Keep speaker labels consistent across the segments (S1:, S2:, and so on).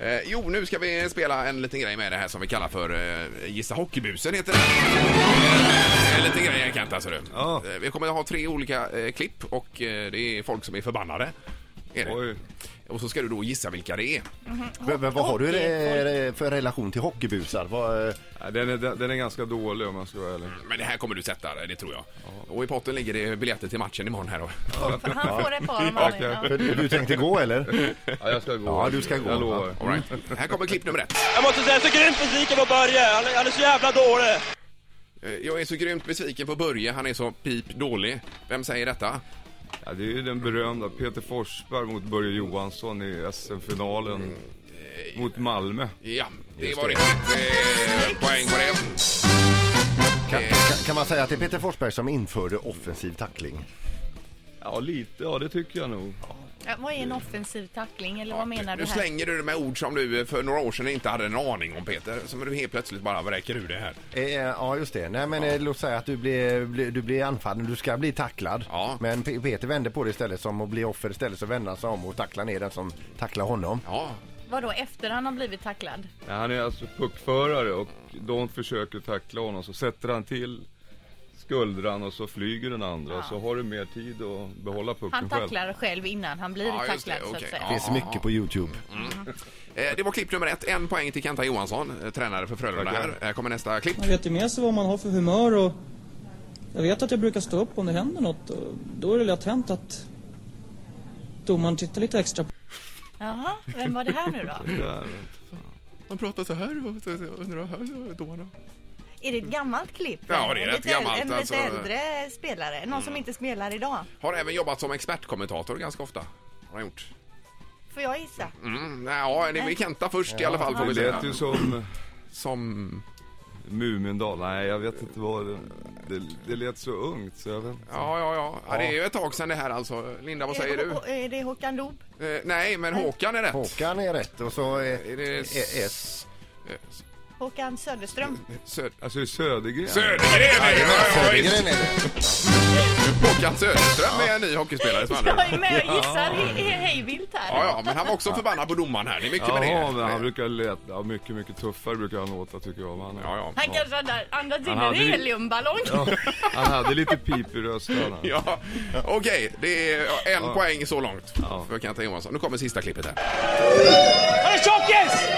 S1: Eh, jo, nu ska vi spela en liten grej med det här som vi kallar för eh, Gissa Hockeybusen heter det. En liten grej här Kent, alltså du.
S2: Ja.
S1: Eh, vi kommer att ha tre olika eh, klipp och eh, det är folk som är förbannade. Är det.
S2: Oj.
S1: Och så ska du då gissa vilka det är.
S3: Men, men vad har du eh, för relation till hockeybusar? Vad, eh,
S2: Ja, Den är, den den är ganska dålig om man ska vara ärlig.
S1: Men det här kommer du sätta, eh, det tror jag. Och i potten ligger det biljetter till matchen imorgon här då.
S4: Han får ett par om han vill.
S3: för du tänkte gå eller?
S2: Ja, jag ska gå.
S3: Ja, du ska gå.
S2: Jag lovar.
S1: All right. Här kommer klipp nummer ett.
S5: Jag måste säga, jag är så grymt besviken på Börje. Han är, han är så jävla dålig.
S1: Eh, Jag är så grymt besviken på Börje, han är så pip dålig. Vem säger detta?
S2: Ja, det är ju den berömda Peter Forsberg mot Börje Johansson i SM-finalen mot Malmö.
S1: Ja, det var rätt. Eh, poäng på det.
S3: Kan,
S1: Eh.
S3: kan- kan man säga att det är Peter Forsberg som införde offensiv tackling?
S2: Ja, lite. Ja, det tycker jag nog.
S4: Ja, Vad är en offensiv tackling eller vad menar du
S1: Nu
S4: här?
S1: slänger du det med ord som du eh, för några år sedan inte hade en aning om Peter, som du helt plötsligt bara vräker ur det här.
S3: Eh, eh, ja, just det. Nej, men eh, låt säga att du blir, blir- du blir anfallen, du ska bli tacklad.
S1: Ja.
S3: Men Pe- Peter vände på det istället som att bli offer istället så vände han sig om och tacklar ner den som tacklar honom.
S1: Ja,
S4: Vadå efter han har blivit tacklad?
S2: Ja, han är alltså puckförare och de försöker tackla honom. Så sätter han till skuldran och så flyger den andra. Så har du mer tid att behålla pucken
S4: Han
S2: själv.
S4: tacklar själv innan han blir
S1: Ja, just det,
S4: tacklad så
S1: okej.
S4: att säga.
S1: Ja.
S3: Det finns mycket på Youtube.
S1: Eh, det var klipp nummer ett. En poäng till Kenta Johansson, eh, tränare för Frölunda
S2: Tackar.
S1: här. Här kommer nästa klipp.
S6: Man vet ju med sig vad man har för humör och jag vet att jag brukar stå upp om det händer något och då är det lätt hänt att domaren tittar lite extra på
S4: Jaha, vem var det här nu då?
S2: Där.
S1: De pratar så här och undrar domarna.
S7: Är det ett gammalt klipp?
S1: Ja, det är
S7: En
S1: rätt
S7: lite äldre-
S1: gammalt,
S7: En
S1: alltså. Mm.
S7: lite äldre spelare, någon som inte spelar idag.
S1: Har även jobbat som expertkommentator ganska ofta. Har han gjort.
S7: Får jag gissa?
S1: Mm, nej, ja, det blir Kenta först i alla fall får
S2: Det
S1: vi
S2: lät
S1: säga.
S2: ju som
S1: Som...
S2: Mumindal. Nej, jag vet inte vad det... Det, det lät så ungt så jag vet inte.
S1: Ja, ja, ja, ja. Det är ju ett tag sedan det här alltså. Linda, vad säger
S7: är, det
S1: du?
S7: Hå- är det Håkan Loob?
S1: Eh, nej, men Håkan är rätt.
S3: Håkan är rätt och så eh,
S1: Är det s-
S3: eh, S.
S7: Håkan Söderström?
S1: Söd...
S2: Alltså det är Södergren.
S1: Södergren är det! Ja,
S3: Södergren
S1: visst.
S3: är det.
S1: Håkan Söderström är en ny hockeyspelare som andra.
S4: Jag är med och gissar he- he- hejvilt här.
S1: Ja, ja, men han var också förbannad på domaren här. Det är mycket med det.
S2: Jaha, men han brukar leta ja, mycket, mycket tuffare brukar han låta tycker jag. Men han,
S1: Ja, ja.
S4: Han kanske hade andats in
S2: Han
S4: en
S2: hade ju-
S4: heliumballong.
S2: han hade lite pip i rösten. han.
S1: Ja, okej, det är ja, en poäng så långt för Kenta Johansson. Nu kommer sista klippet här.
S5: Han är tjockis!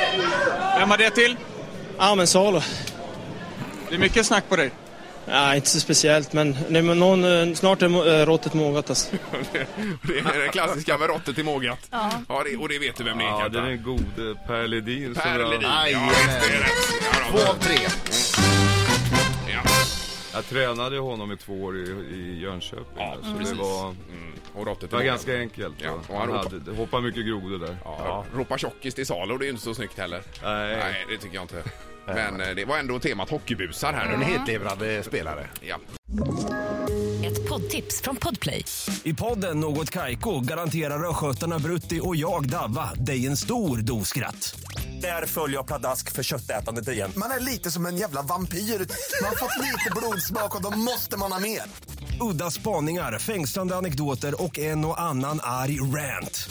S5: Vem var det till?
S6: Ja men Salo.
S5: Det är mycket snack på dig.
S6: Nej inte så speciellt men, nej, men någon, eh, snart är mo- eh, råttet mogat alltså.
S1: Det är det klassiska med råttet i mågat. Ja. det, och det vet du vem det är,
S2: Ja,
S1: Kenta.
S2: den är gode Per Ledin. som
S1: Per
S2: jag-
S1: Ledin.
S2: Nej,
S1: Ja, visst, det är rätt. Ja,
S3: Två
S1: då.
S3: av tre.
S1: Ja.
S2: Jag tränade honom i två år i, i Jönköping. där, så det var,
S1: Mm. Och råttet
S2: det
S1: i
S2: var
S1: mågat.
S2: ganska enkelt.
S1: Ja,
S2: Ja.
S1: och han
S2: Han
S1: ropar-
S2: hade, det hoppar mycket grodor där.
S1: Ja, ropa tjockis till Salo, det är ju inte så snyggt heller.
S2: Nej.
S1: Nej, det tycker jag inte. Men eh, det var ändå temat hockeybusar här
S3: En
S1: nu.
S3: hetlevrad eh, spelare.
S1: Ja.
S8: Ett poddtips från Podplay.
S9: I podden Något Kaiko garanterar östgötarna Brutti och jag, Davva, dig en stor dos skratt. Där följer jag pladask för köttätandet igen.
S10: Man är lite som en jävla vampyr. Man har fått lite blodsmak och då måste man ha mer.
S9: Udda spaningar, fängslande anekdoter och en och annan arg rant.